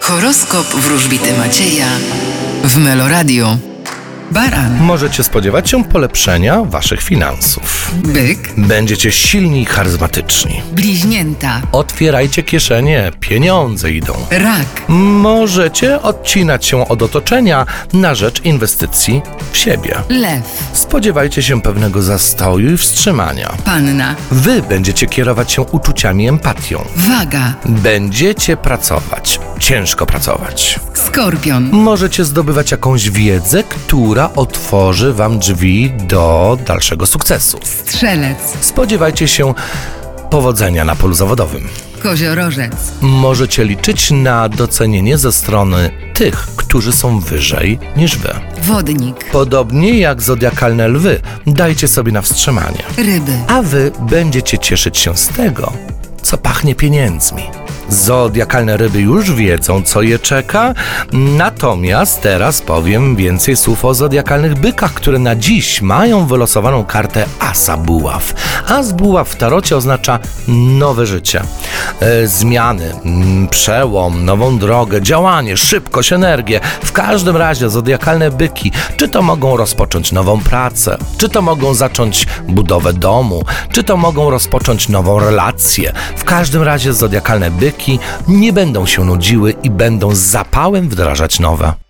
Horoskop wróżbity Macieja w Meloradio. Baran, Możecie spodziewać się polepszenia waszych finansów. byk, Będziecie silni i charyzmatyczni. bliźnięta, Otwierajcie kieszenie, pieniądze idą. rak, Możecie odcinać się od otoczenia na rzecz inwestycji w siebie. lew, Spodziewajcie się pewnego zastoju i wstrzymania. panna, Wy będziecie kierować się uczuciami i empatią. waga, Będziecie pracować, ciężko pracować. skorpion, Możecie zdobywać jakąś wiedzę, która otworzy Wam drzwi do dalszego sukcesu. strzelec, Spodziewajcie się powodzenia na polu zawodowym. koziorożec, Możecie liczyć na docenienie ze strony tych, którzy są wyżej niż Wy. wodnik, Podobnie jak zodiakalne lwy, dajcie sobie na wstrzymanie, ryby, a Wy będziecie cieszyć się z tego, co pachnie pieniędzmi. Zodiakalne ryby już wiedzą, co je czeka, natomiast teraz powiem więcej słów o zodiakalnych bykach, które na dziś mają wylosowaną kartę Asa Buław. As Buław w tarocie oznacza nowe życie, e, zmiany, mm, przełom, nową drogę, działanie, szybkość, energię. W każdym razie zodiakalne byki, czy to mogą rozpocząć nową pracę, czy to mogą zacząć budowę domu, czy to mogą rozpocząć nową relację. W każdym razie zodiakalne byki nie będą się nudziły i będą z zapałem wdrażać nowe.